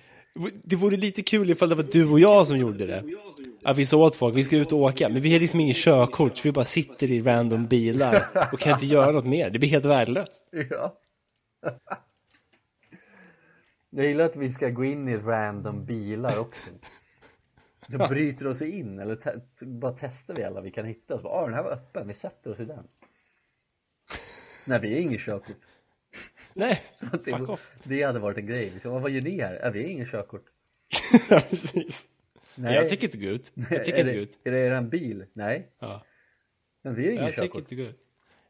A: Det vore lite kul ifall det var du och jag som gjorde det. Att vi sa åt folk, vi ska ut och åka, men vi har liksom inget körkort, så vi bara sitter i random bilar och kan inte göra något mer. Det blir helt värdelöst.
B: Ja. Jag gillar att vi ska gå in i random bilar också. Så bryter oss in eller te- t- bara testar vi alla vi kan hitta och så bara, ah, den här var öppen, vi sätter oss i den. Nej, vi är ingen körkort.
A: Nej,
B: Det,
A: fuck off.
B: det hade varit en grej. Liksom, "Ah, vad gör ni här? "Ah, vi är ingen körkort.
A: Ja, Precis. Nej. Jag tänker inte gå ut. Jag tänker
B: är,
A: inte gå ut.
B: det, är det eran bil? Nej,
A: Ja.
B: men vi är ingen
A: Jag tänker
B: körkort.
A: inte gå ut.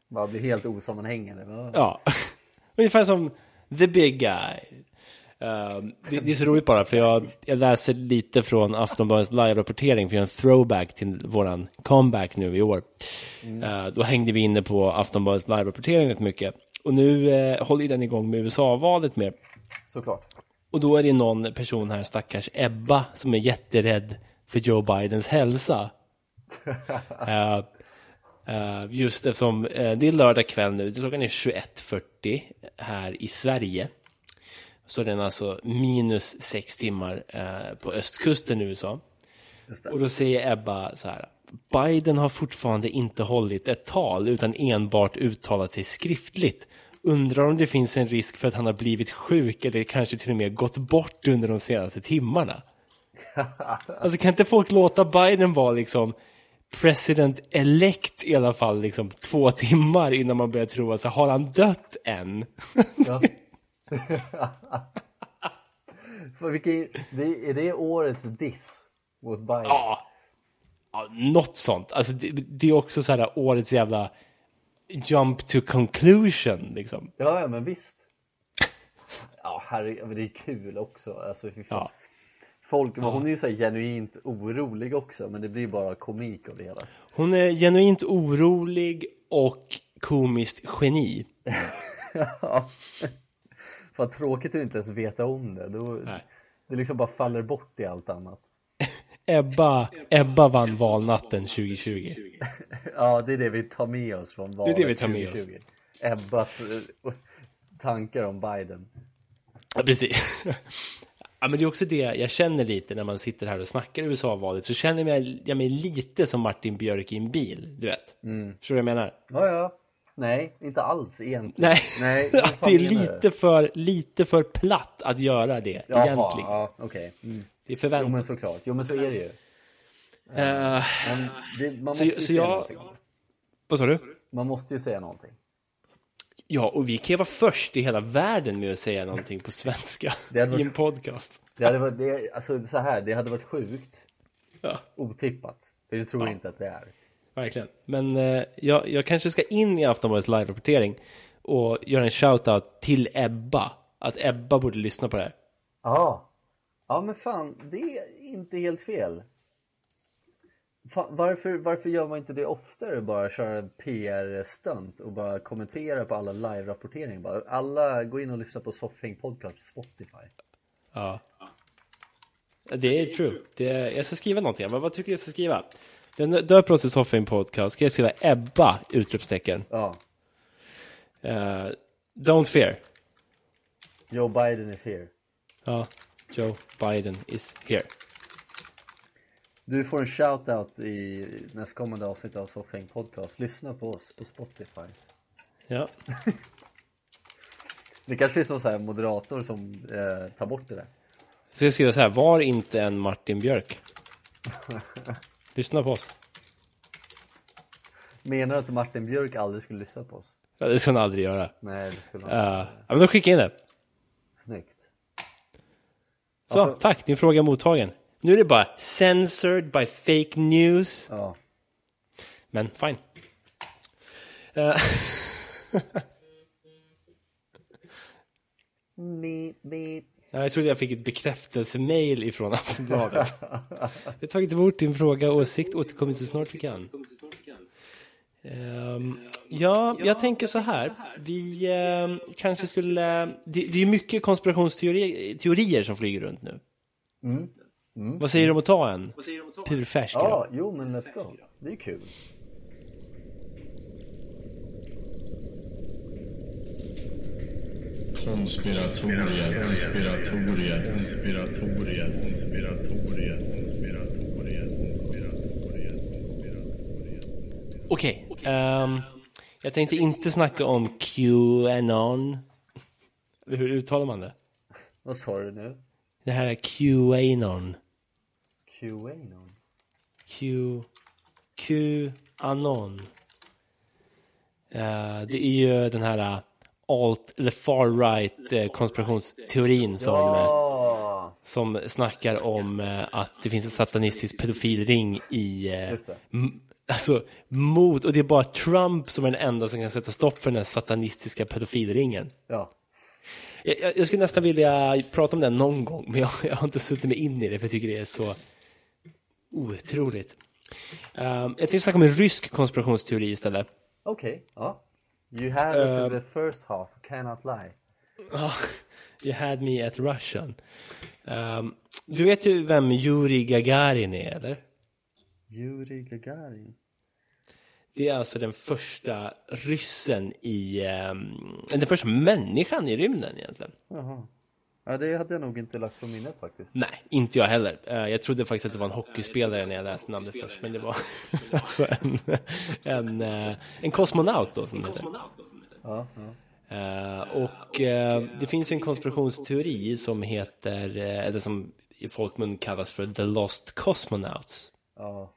B: Bara blir helt osammanhängande. Va?
A: Ja, ungefär som the big guy. Ehm, det, det är så roligt bara, för jag, jag läser lite från Aftonbladets live-rapportering, för jag gör en throwback till våran comeback nu i år.
B: Mm.
A: Eh, då hängde vi inne på Aftonbladets live-rapportering rätt mycket. Och nu eh, håller ju den igång med USA-valet mer.
B: Såklart.
A: Och då är det någon person här, stackars Ebba, som är jätterädd för Joe Bidens hälsa. Eh, eh, just eftersom eh, det är lördag kväll nu, klockan är 21.40 här i Sverige. Så den är alltså minus sex timmar eh, på östkusten i USA.
B: Just det.
A: Och då säger Ebba så här. Biden har fortfarande inte hållit ett tal utan enbart uttalat sig skriftligt. Undrar om det finns en risk för att han har blivit sjuk eller kanske till och med gått bort under de senaste timmarna. Alltså kan inte folk låta Biden vara liksom president elect i alla fall liksom två timmar innan man börjar tro att så har han dött än?
B: Ja. För vilken, det, är det årets diss mot Bayern?
A: Ja, ja något sånt. Alltså, det, det är också så här årets jävla jump to conclusion. Liksom.
B: Ja, ja, men visst. Ja, herre, men det är kul också. Alltså, fy fan.
A: Ja.
B: Folk, men Hon är ju så här genuint orolig också, men det blir bara komik av det hela.
A: Hon är genuint orolig och komiskt geni.
B: Fan tråkigt att inte ens veta om det. Då,
A: Nej.
B: det liksom bara faller bort i allt annat.
A: Ebba, Ebba vann valnatten 2020.
B: Ja, det är det vi tar med oss från
A: är
B: valet
A: det vi tar med oss.
B: 2020. Ebbas eh, tankar om Biden.
A: Ja, precis. Ja, men det är också det jag känner lite när man sitter här och snackar USA-valet. Så känner jag, jag mig lite som Martin Björk i en bil, du vet.
B: Mm.
A: Förstår du vad jag menar?
B: Ja, ja. Nej, inte alls egentligen.
A: Nej,
B: Nej, vad
A: att
B: fan
A: det är
B: menar du?
A: lite för, lite för platt att göra det egentligen.
B: ja, okej. Mm.
A: Det är
B: Jo men
A: förväntat.
B: såklart, jo men så är det ju.
A: Eh,
B: Men det, man,
A: Så-
B: måste ju
A: så
B: säga
A: jag-
B: någonting.
A: vad sa du?
B: man måste ju säga någonting.
A: Ja, och vi kan ju vara först i hela världen med att säga någonting på svenska
B: Det hade varit-
A: i en podcast.
B: Det hade varit, det, alltså så här, det hade varit sjukt
A: Ja,
B: otippat. Det tror jag inte att det är.
A: verkligen. Men eh, jag, jag kanske ska in i Aftonbladets live-rapportering och göra en shout-out till Ebba. Att Ebba borde lyssna på det här.
B: Ja, ja men fan, det är inte helt fel. Fan, varför, varför gör man inte det oftare? Bara köra en PR-stunt och bara kommentera på alla live-rapporteringar. Bara, Alla, gå in och lyssna på Soffhäng Podcast på Spotify.
A: Ja. Det är true. Det är, jag ska skriva någonting. Men vad tycker du jag ska skriva? Den döper oss till Soffin Podcast. Ska jag skriva Ebba? Utropstecken.
B: Ja,
A: Eh, don't fear.
B: Joe Biden is here.
A: Ja. Joe Biden is here.
B: Du får en shoutout i nästkommande avsnitt av Soffhäng Podcast. Lyssna på oss på Spotify.
A: Ja.
B: Det kanske är som så här moderator som eh, tar bort det där.
A: Så jag skriver så här. Var inte en Martin Björk. Lyssna på oss.
B: Menar du att Martin Björk aldrig skulle lyssna på oss?
A: Ja, det ska han aldrig göra.
B: Nej, det skulle han
A: Eh,
B: inte.
A: ja, men då skickar jag in det.
B: Snyggt.
A: Så, tack. Din fråga är mottagen. Nu är det bara censored by fake news.
B: Ja.
A: Men fine. Eh,
B: Beep, beep.
A: Ja, Jag trodde jag fick ett bekräftelsemail ifrån Aftonbladet. Vi har tagit emot din fråga och åsikt återkommer så snart vi kan. Ehm, ja, jag tänker så här. Vi ehm, kanske skulle... Det, det är ju mycket konspirationsteorier teorier som flyger runt nu.
B: Mm. Mm.
A: Vad säger du om att ta en? Purfärsk idag.
B: Ja, jo men let's go. Det är kul.
C: Konspiratoriet, konspiratoriet, konspiratoriet, konspiratoriet, konspiratoriet, konspiratoriet, konspiratoriet.
A: Okej. ehm, jag tänkte inte snacka om QAnon. Eller Hur uttalar man det?
B: Vad sa du nu?
A: Det här är QAnon.
B: QAnon?
A: Q... Q-anon. Eh, det är ju den här eh, alt, eller far-right eh, konspirationsteorin som, eh,
B: Ja!
A: som snackar om eh, att det finns en satanistisk pedofilring i... eh,
B: Just det.
A: m- Alltså mot, och det är bara Trump som är den enda som kan sätta stopp för den här satanistiska pedofilringen.
B: Ja.
A: Jag, jag, jag skulle nästan vilja prata om den någon gång, men jag, jag har inte suttit mig in i det för jag tycker det är så otroligt. Um, jag tänkte snacka om en rysk konspirationsteori istället.
B: Okej, ja. You have it in the first half, cannot lie.
A: Ja, Ah, you had me at Russian. Ehm, du vet ju vem Yuri Gagarin är, eller?
B: Yuri Gagarin.
A: Det är alltså den första ryssen i... ehm, den första människan i rymden egentligen.
B: Jaha. Ja, det hade jag nog inte lagt på minnet faktiskt.
A: Nej, inte jag heller. Eh, Jag trodde faktiskt att det var en hockeyspelare när jag läste namnet först, men det var alltså en, en, eh, en kosmonaut då som det heter.
B: Ja, ja.
A: Eh, Och eh, det finns ju en konspirationsteori som heter, eh, eller som i folkmun kallas för The Lost Cosmonauts.
B: ja.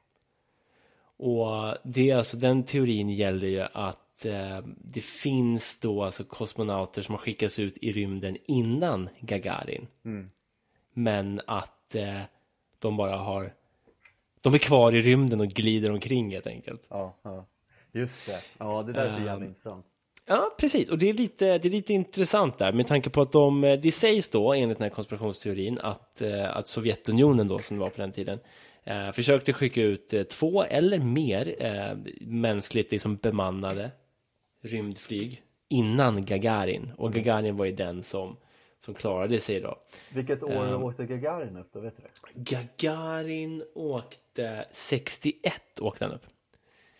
A: Och det är alltså, den teorin gäller ju att eh, det finns då alltså kosmonauter som har skickats ut i rymden innan Gagarin. Men att eh, de bara har, de är kvar i rymden och glider omkring helt enkelt.
B: Ja, ja. Just det. Ja, det där är så jävla intressant.
A: Ja, precis. Och det är, lite, det är lite intressant där med tanke på att de, eh, det sägs då enligt den här konspirationsteorin att, eh, att Sovjetunionen då som det var på den tiden eh, försökte skicka ut eh, två eller mer eh, mänskligt liksom bemannade rymdflyg innan Gagarin. Och Gagarin var ju den som, som klarade sig då.
B: Vilket år åkte Gagarin upp då, vet du det?
A: Gagarin åkte 61 åkte han upp.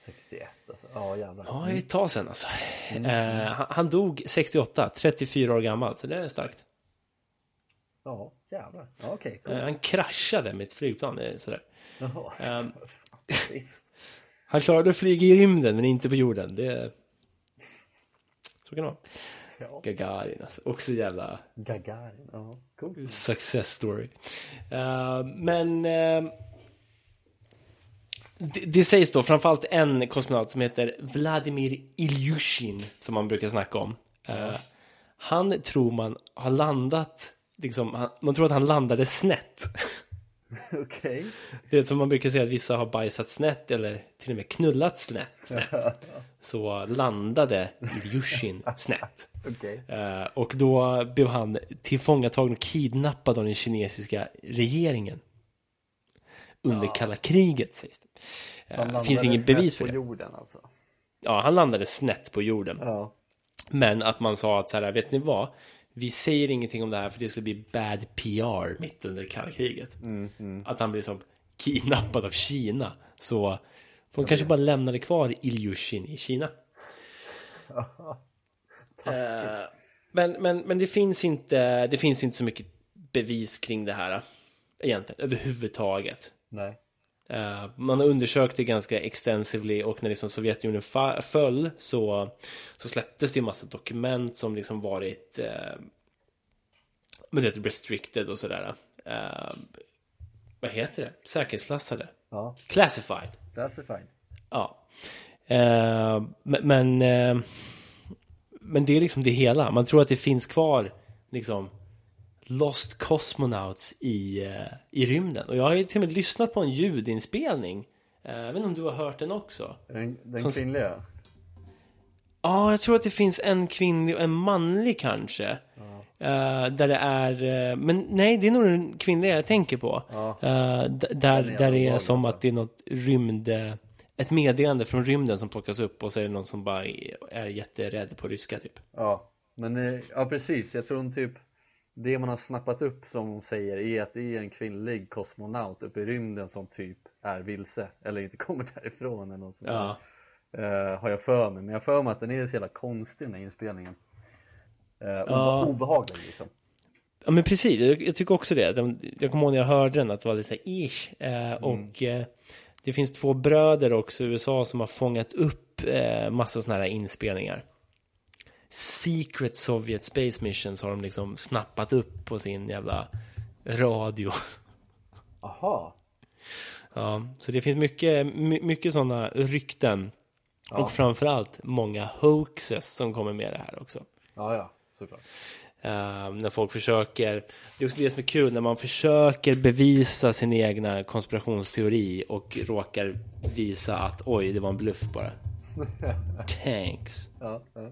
B: 61 alltså. Ja, jävlar.
A: Ja, det är ett tag sedan alltså. Eh, han, han dog 68, 34 år gammal, så det är starkt.
B: Ja, jävlar. Ja, okej.
A: Eh,
B: cool.
A: Han kraschade med ett flygplan. det är Sådär.
B: Jaha.
A: ehm.
B: Visst.
A: Han klarade att flyga i rymden men inte på jorden. Det... är- Så kan det vara.
B: Ja.
A: Gagarin alltså. Också jävla
B: Gagarin. Ja, cool.
A: success story. Eh, men eh, det, det sägs då framförallt en kosmonaut som heter Vladimir Ilyushin som man brukar snacka om. Eh, han tror man har landat, liksom, han, man tror att han landade snett.
B: Okej.
A: Det är som man brukar säga att vissa har bajsat snett eller till och med knullat snett. snett. Så landade Ilyushin snett.
B: Okej.
A: Eh, Och då blev han tillfångatagen och kidnappad av den kinesiska regeringen. Under kalla kriget sägs det.
B: Han
A: Eh,
B: landade
A: finns inget
B: snett
A: bevis för
B: på
A: det.
B: jorden alltså.
A: Ja, han landade snett på jorden.
B: Ja.
A: Men att man sa att så här, vet ni vad? Vi säger ingenting om det här för det skulle bli bad PR mitt under kalla kriget. Att han blir som kidnappad av Kina. Så de kanske bara lämnade kvar Ilyushin i Kina. Eh, men men, men det, finns inte, det finns inte så mycket bevis kring det här. eh, Egentligen, överhuvudtaget.
B: Nej.
A: Eh, Man har undersökt det ganska extensively och när liksom Sovjetunionen fa- föll så, så släpptes det ju massa dokument som liksom varit eh, men det restricted och sådär. Eh, vad heter det? Säkerhetsklassade?
B: Ja,
A: Classified.
B: that's a fine.
A: Ja. Eh, men, men, eh, men det är liksom det hela. Man tror att det finns kvar liksom Lost Cosmonauts i, eh, i rymden. Och jag har ju till och med lyssnat på en ljudinspelning. Eh, Jag vet inte om du har hört den också?
B: Den, den
A: Som-
B: kvinnliga?
A: Ja, jag tror att det finns en kvinnlig och en manlig kanske. Eh, där det är, eh, men nej det är nog den kvinnliga jag tänker på.
B: Ja.
A: Eh, d- där, där
B: är
A: det är
B: obehaglig,
A: som att det är något rymd, eh, ett meddelande från rymden som plockas upp och så är det någon som bara är jätterädd på ryska typ.
B: Ja, men eh, ja precis, jag tror hon typ det man har snappat upp som hon säger är att det är en kvinnlig kosmonaut uppe i rymden som typ är vilse eller inte kommer därifrån eller något sånt där.
A: Ja,
B: Eh, har jag för mig, men jag har för mig att den är så jävla konstig den här inspelningen uh,
A: Ja.
B: Obehaglig liksom
A: ja men precis, jag, jag tycker också det. De, jag kommer ihåg när jag hörde den att det var lite såhär ish. Eh, Och eh, det finns två bröder också i USA som har fångat upp eh, massa sådana här inspelningar. Secret Soviet Space Missions har de liksom snappat upp på sin jävla radio.
B: Aha,
A: Ja, så det finns mycket, my, mycket sådana rykten. Och framförallt många hoaxes som kommer med det här också.
B: ja ja, såklart
A: Eh, när folk försöker, det är också det som är kul, när man försöker bevisa sin egna konspirationsteori och råkar visa att oj, det var en bluff bara. Thanks.
B: ja, ja.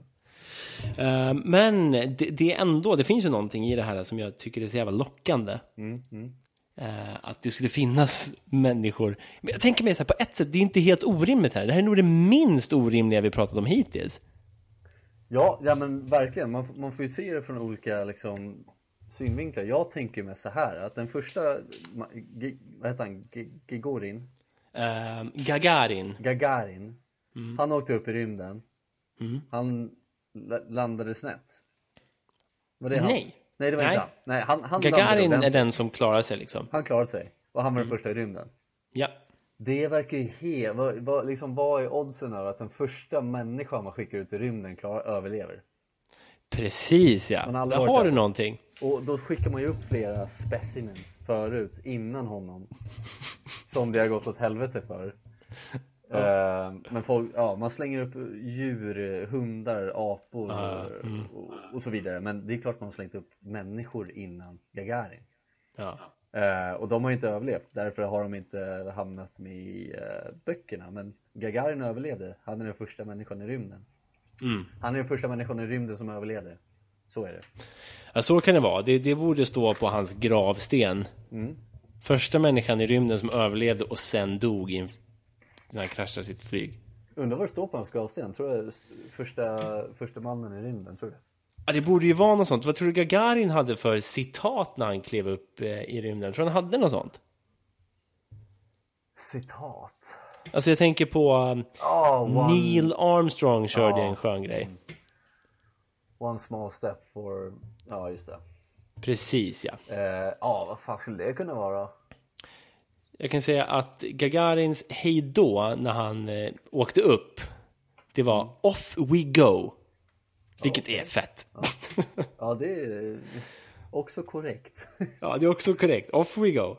A: Eh, men det, det är ändå, det finns ju någonting i det här som jag tycker är så jävla lockande.
B: Mm, mm.
A: Eh, att det skulle finnas människor. Men jag tänker mig så här, på ett sätt, det är inte helt orimligt här. Det här är nog det minst orimliga vi pratat om hittills.
B: Ja, ja men verkligen. Man, man får ju se det från olika liksom, synvinklar. Jag tänker med så här att den första, ma- G- vad heter han, G- Gigorin?
A: Eh, Gagarin.
B: Gagarin. Han åkte upp i rymden.
A: Mm.
B: Han la- landade snett. Var det han?
A: Nej.
B: Nej, det var
A: Nej.
B: inte han. Nej, han, han landade
A: Gagarin är Mm.
B: ordentligt.
A: den som klarar sig liksom.
B: Han klarade sig. Och han var den första i rymden.
A: Ja.
B: Det verkar ju helt, vad, vad, liksom, vad är oddsen över att den första människan man skickar ut i rymden klarar, överlever?
A: Precis ja.
B: Man har aldrig
A: Där
B: hört
A: har
B: det.
A: du någonting.
B: Och då skickar man ju upp flera specimens förut, innan honom. Som det har gått åt helvete för. Eh, Men folk, ja, man slänger upp djur, hundar, apor
A: Ja, Mm.
B: och, och, och så vidare. Men det är klart man har slängt upp människor innan Gagarin.
A: Ja.
B: Eh, och de har ju inte överlevt, därför har de inte hamnat med i eh, böckerna. Men Gagarin överlevde, han är den första människan i rymden.
A: Mm.
B: Han är den första människan i rymden som överlevde. Så är det.
A: ja, så kan det vara. Det, det borde stå på hans gravsten.
B: Mm.
A: Första människan i rymden som överlevde och sen dog i en, f- när han kraschade sitt flyg.
B: Undrar vad det står på hans gravsten, tror jag s- första, första mannen i rymden, tror du?
A: Ja, det borde ju vara något sånt. Vad tror du Gagarin hade för citat när han klev upp eh, i rymden? Tror du han hade något sånt?
B: Citat.
A: Alltså jag tänker på um,
B: Oh, one,
A: Neil Armstrong körde
B: Ja. Mm.
A: en skön grej.
B: one small step for... Ja, just det.
A: Precis ja.
B: Eh, Ja, vad fan skulle det kunna vara?
A: Jag kan säga att Gagarins hejdå när han eh, åkte upp, det var off we go. Vilket är fett.
B: Ja, det är också korrekt.
A: Ja, det är också korrekt. Off we go.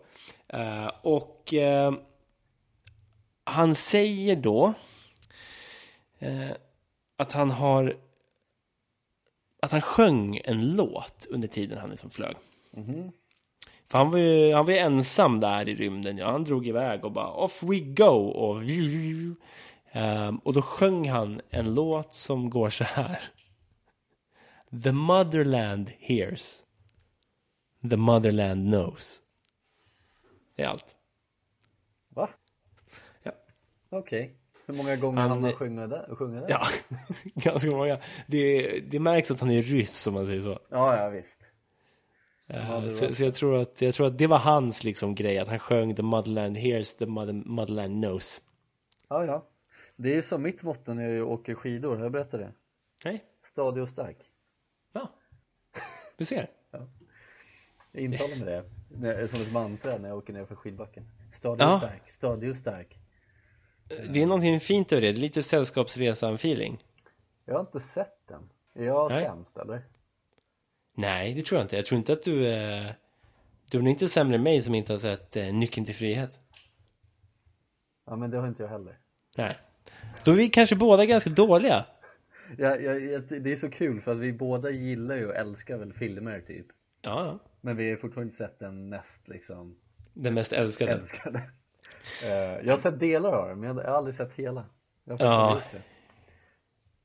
A: Eh, och eh, han säger då eh, att han har att han sjöng en låt under tiden han liksom flög. För han var, ju, han var ju ensam där i rymden. Ja, han drog iväg och bara off we go. Och, Ehm, och då sjöng han en låt som går så här. The motherland hears. The motherland knows. Det är allt.
B: Va?
A: Ja.
B: Okej. Hur många gånger
A: Han-
B: han har sjungit där? Sjungit där?
A: Ja, ganska många. Det, det märks att han är ryss om man säger så.
B: ja, ja, visst.
A: Eh,
B: det var-
A: så så jag, tror att, jag tror att det var hans liksom grej, att han sjöng The motherland hears, the mother, motherland knows.
B: Ja, ja. Det är som mitt motto när jag åker skidor, har jag berättat det?
A: Nej,
B: Stadig och stark.
A: ja. Du ser.
B: Jag intalar mig det när- som ett mantra när jag åker ner för skidbacken. Stadig och
A: Ja.
B: stark, stadig och stark.
A: Det är någonting fint över det, Det är lite sällskapsresan-feeling.
B: Jag har inte sett den. Är jag
A: Nej.
B: sämst eller?
A: Nej, det tror jag inte. Jag tror inte att du är... Du är nog inte sämre än mig som inte har sett eh, Nyckeln till frihet.
B: Ja men det har inte jag heller.
A: Nej. Då är vi kanske båda ganska dåliga.
B: Jag, jag, jag, det är så kul för att vi båda gillar ju och älskar väl filmer typ.
A: Ja, ja.
B: Men vi har fortfarande inte sett den mest liksom
A: Den mest älskade.
B: älskade. Eh, jag har sett delar av den men jag har aldrig sett hela. Jag har
A: Ja.
B: faktiskt aldrig gjort det.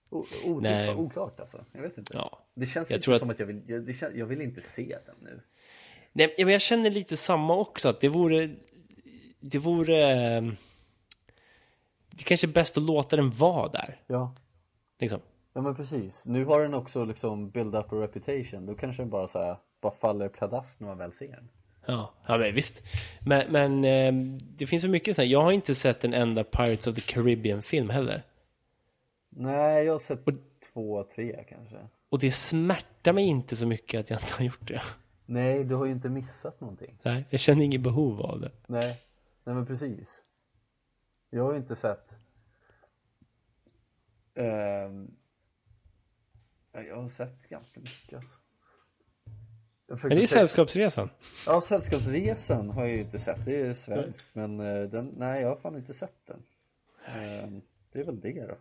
B: O- otippat,
A: Nej.
B: Oklart alltså. Jag vet inte.
A: Ja.
B: Det känns
A: Jag
B: inte
A: tror att-
B: som att jag vill, jag, det kän, jag vill inte se den nu.
A: Nej, men jag känner lite samma också, att det vore... Det vore... eh, ehm, det kanske är bäst att låta den vara där.
B: Ja,
A: Liksom.
B: ja men precis. Nu har den också liksom build up a reputation. Då kanske den bara så här, bara faller pladask när man väl ser den.
A: Ja, ja men visst. Men, men eh, det finns så mycket så här. Jag har inte sett en enda Pirates of the Caribbean-film heller.
B: Nej, jag har sett två, tre kanske.
A: Och det smärtar mig inte så mycket att jag inte har gjort det.
B: Nej, du har ju inte missat någonting.
A: Nej, jag känner inget behov av det.
B: Nej, nej men precis. Jag har ju inte sett Ehm, ja, Jag har sett ganska mycket alltså.
A: Men det är
B: Jag försökte tänka-
A: Sällskapsresan.
B: Ja, Sällskapsresan har jag ju inte sett, det är svensk men eh, den, nej jag har fan inte sett den Ehm, Det är väl det då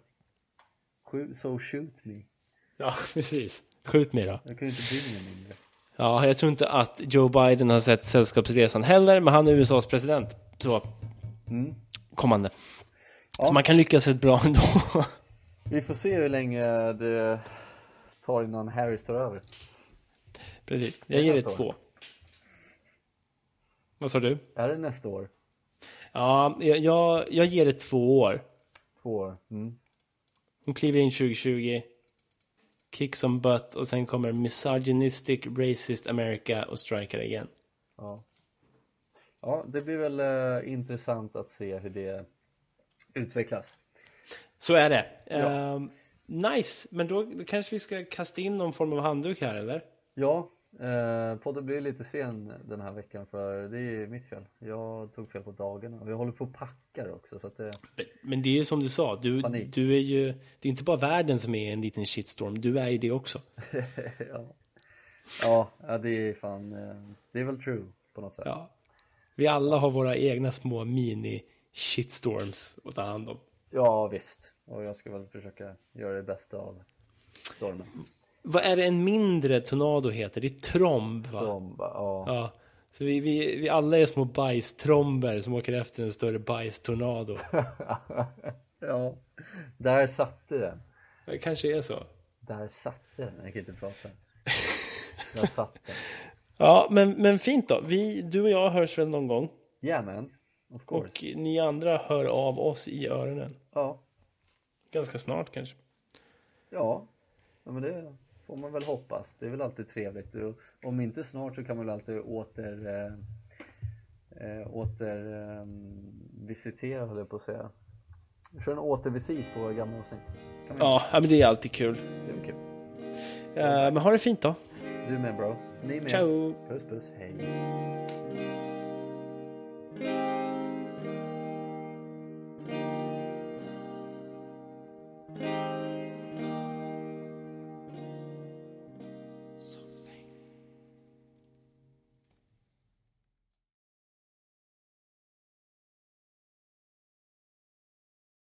B: Shoot- So shoot me,
A: Ja, precis. Skjut mig då.
B: jag kunde inte bry mig mindre
A: Ja, jag tror inte att Joe Biden har sett Sällskapsresan heller, men han är USAs president. Så,
B: mm.
A: kommande.
B: Ja.
A: Så man kan lyckas rätt bra ändå.
B: Vi får se hur länge det tar innan Harris tar över
A: Precis. Jag ger det två. Vad sa du?
B: Är det nästa år?
A: Ja, jag, jag, jag ger det två år.
B: Två år? Mm.
A: Hon kliver in 2020. Kick some butt och sen kommer misogynistic, racist America och strikar igen.
B: Ja. ja, det blir väl eh, intressant att se hur det utvecklas.
A: Så är det.
B: Ja.
A: Ehm, nice, men då, då kanske vi ska kasta in någon form av handduk här eller?
B: Ja, eh, podden blir lite sen den här veckan för det är mitt fel. Jag tog fel på dagarna och jag håller på och packar också så att det,
A: Men- Men det är ju som du sa, du,
B: Panik.
A: du är ju, det är inte bara världen som är en liten shitstorm, du är ju det också.
B: ja. ja, ja, det är fan, eh, det är väl true på något sätt.
A: Ja. Vi alla har våra egna små mini shitstorms att ta hand om.
B: ja, visst. Och jag ska väl försöka göra det bästa av stormen.
A: Vad är det en mindre tornado heter? Det är tromb va?
B: De bara, ja.
A: Ja, så vi, vi, vi alla är små bajstromber som åker efter en större bajstornado.
B: ja, där satte den.
A: Det kanske är så.
B: Där satte den, jag kan inte prata. Där satt den.
A: Ja, men, men fint då. Vi, du och jag hörs väl någon gång.
B: Yeah man, of course.
A: Och ni andra hör av oss i öronen.
B: Ja,
A: Ganska snart kanske.
B: ja. ja, men det får man väl hoppas. Det är väl alltid trevligt. Och om inte snart så kan man väl alltid åter, eh, eh, åter eh, visitera höll jag på att säga. Kör en återvisit på våra gamla avsnitt. Kan vi-
A: Ja, ja, men det är alltid kul.
B: Det är väl kul.
A: Eh, Men ha det fint då.
B: Du med bro. Ni med.
A: Ciao!
B: Puss puss, hej.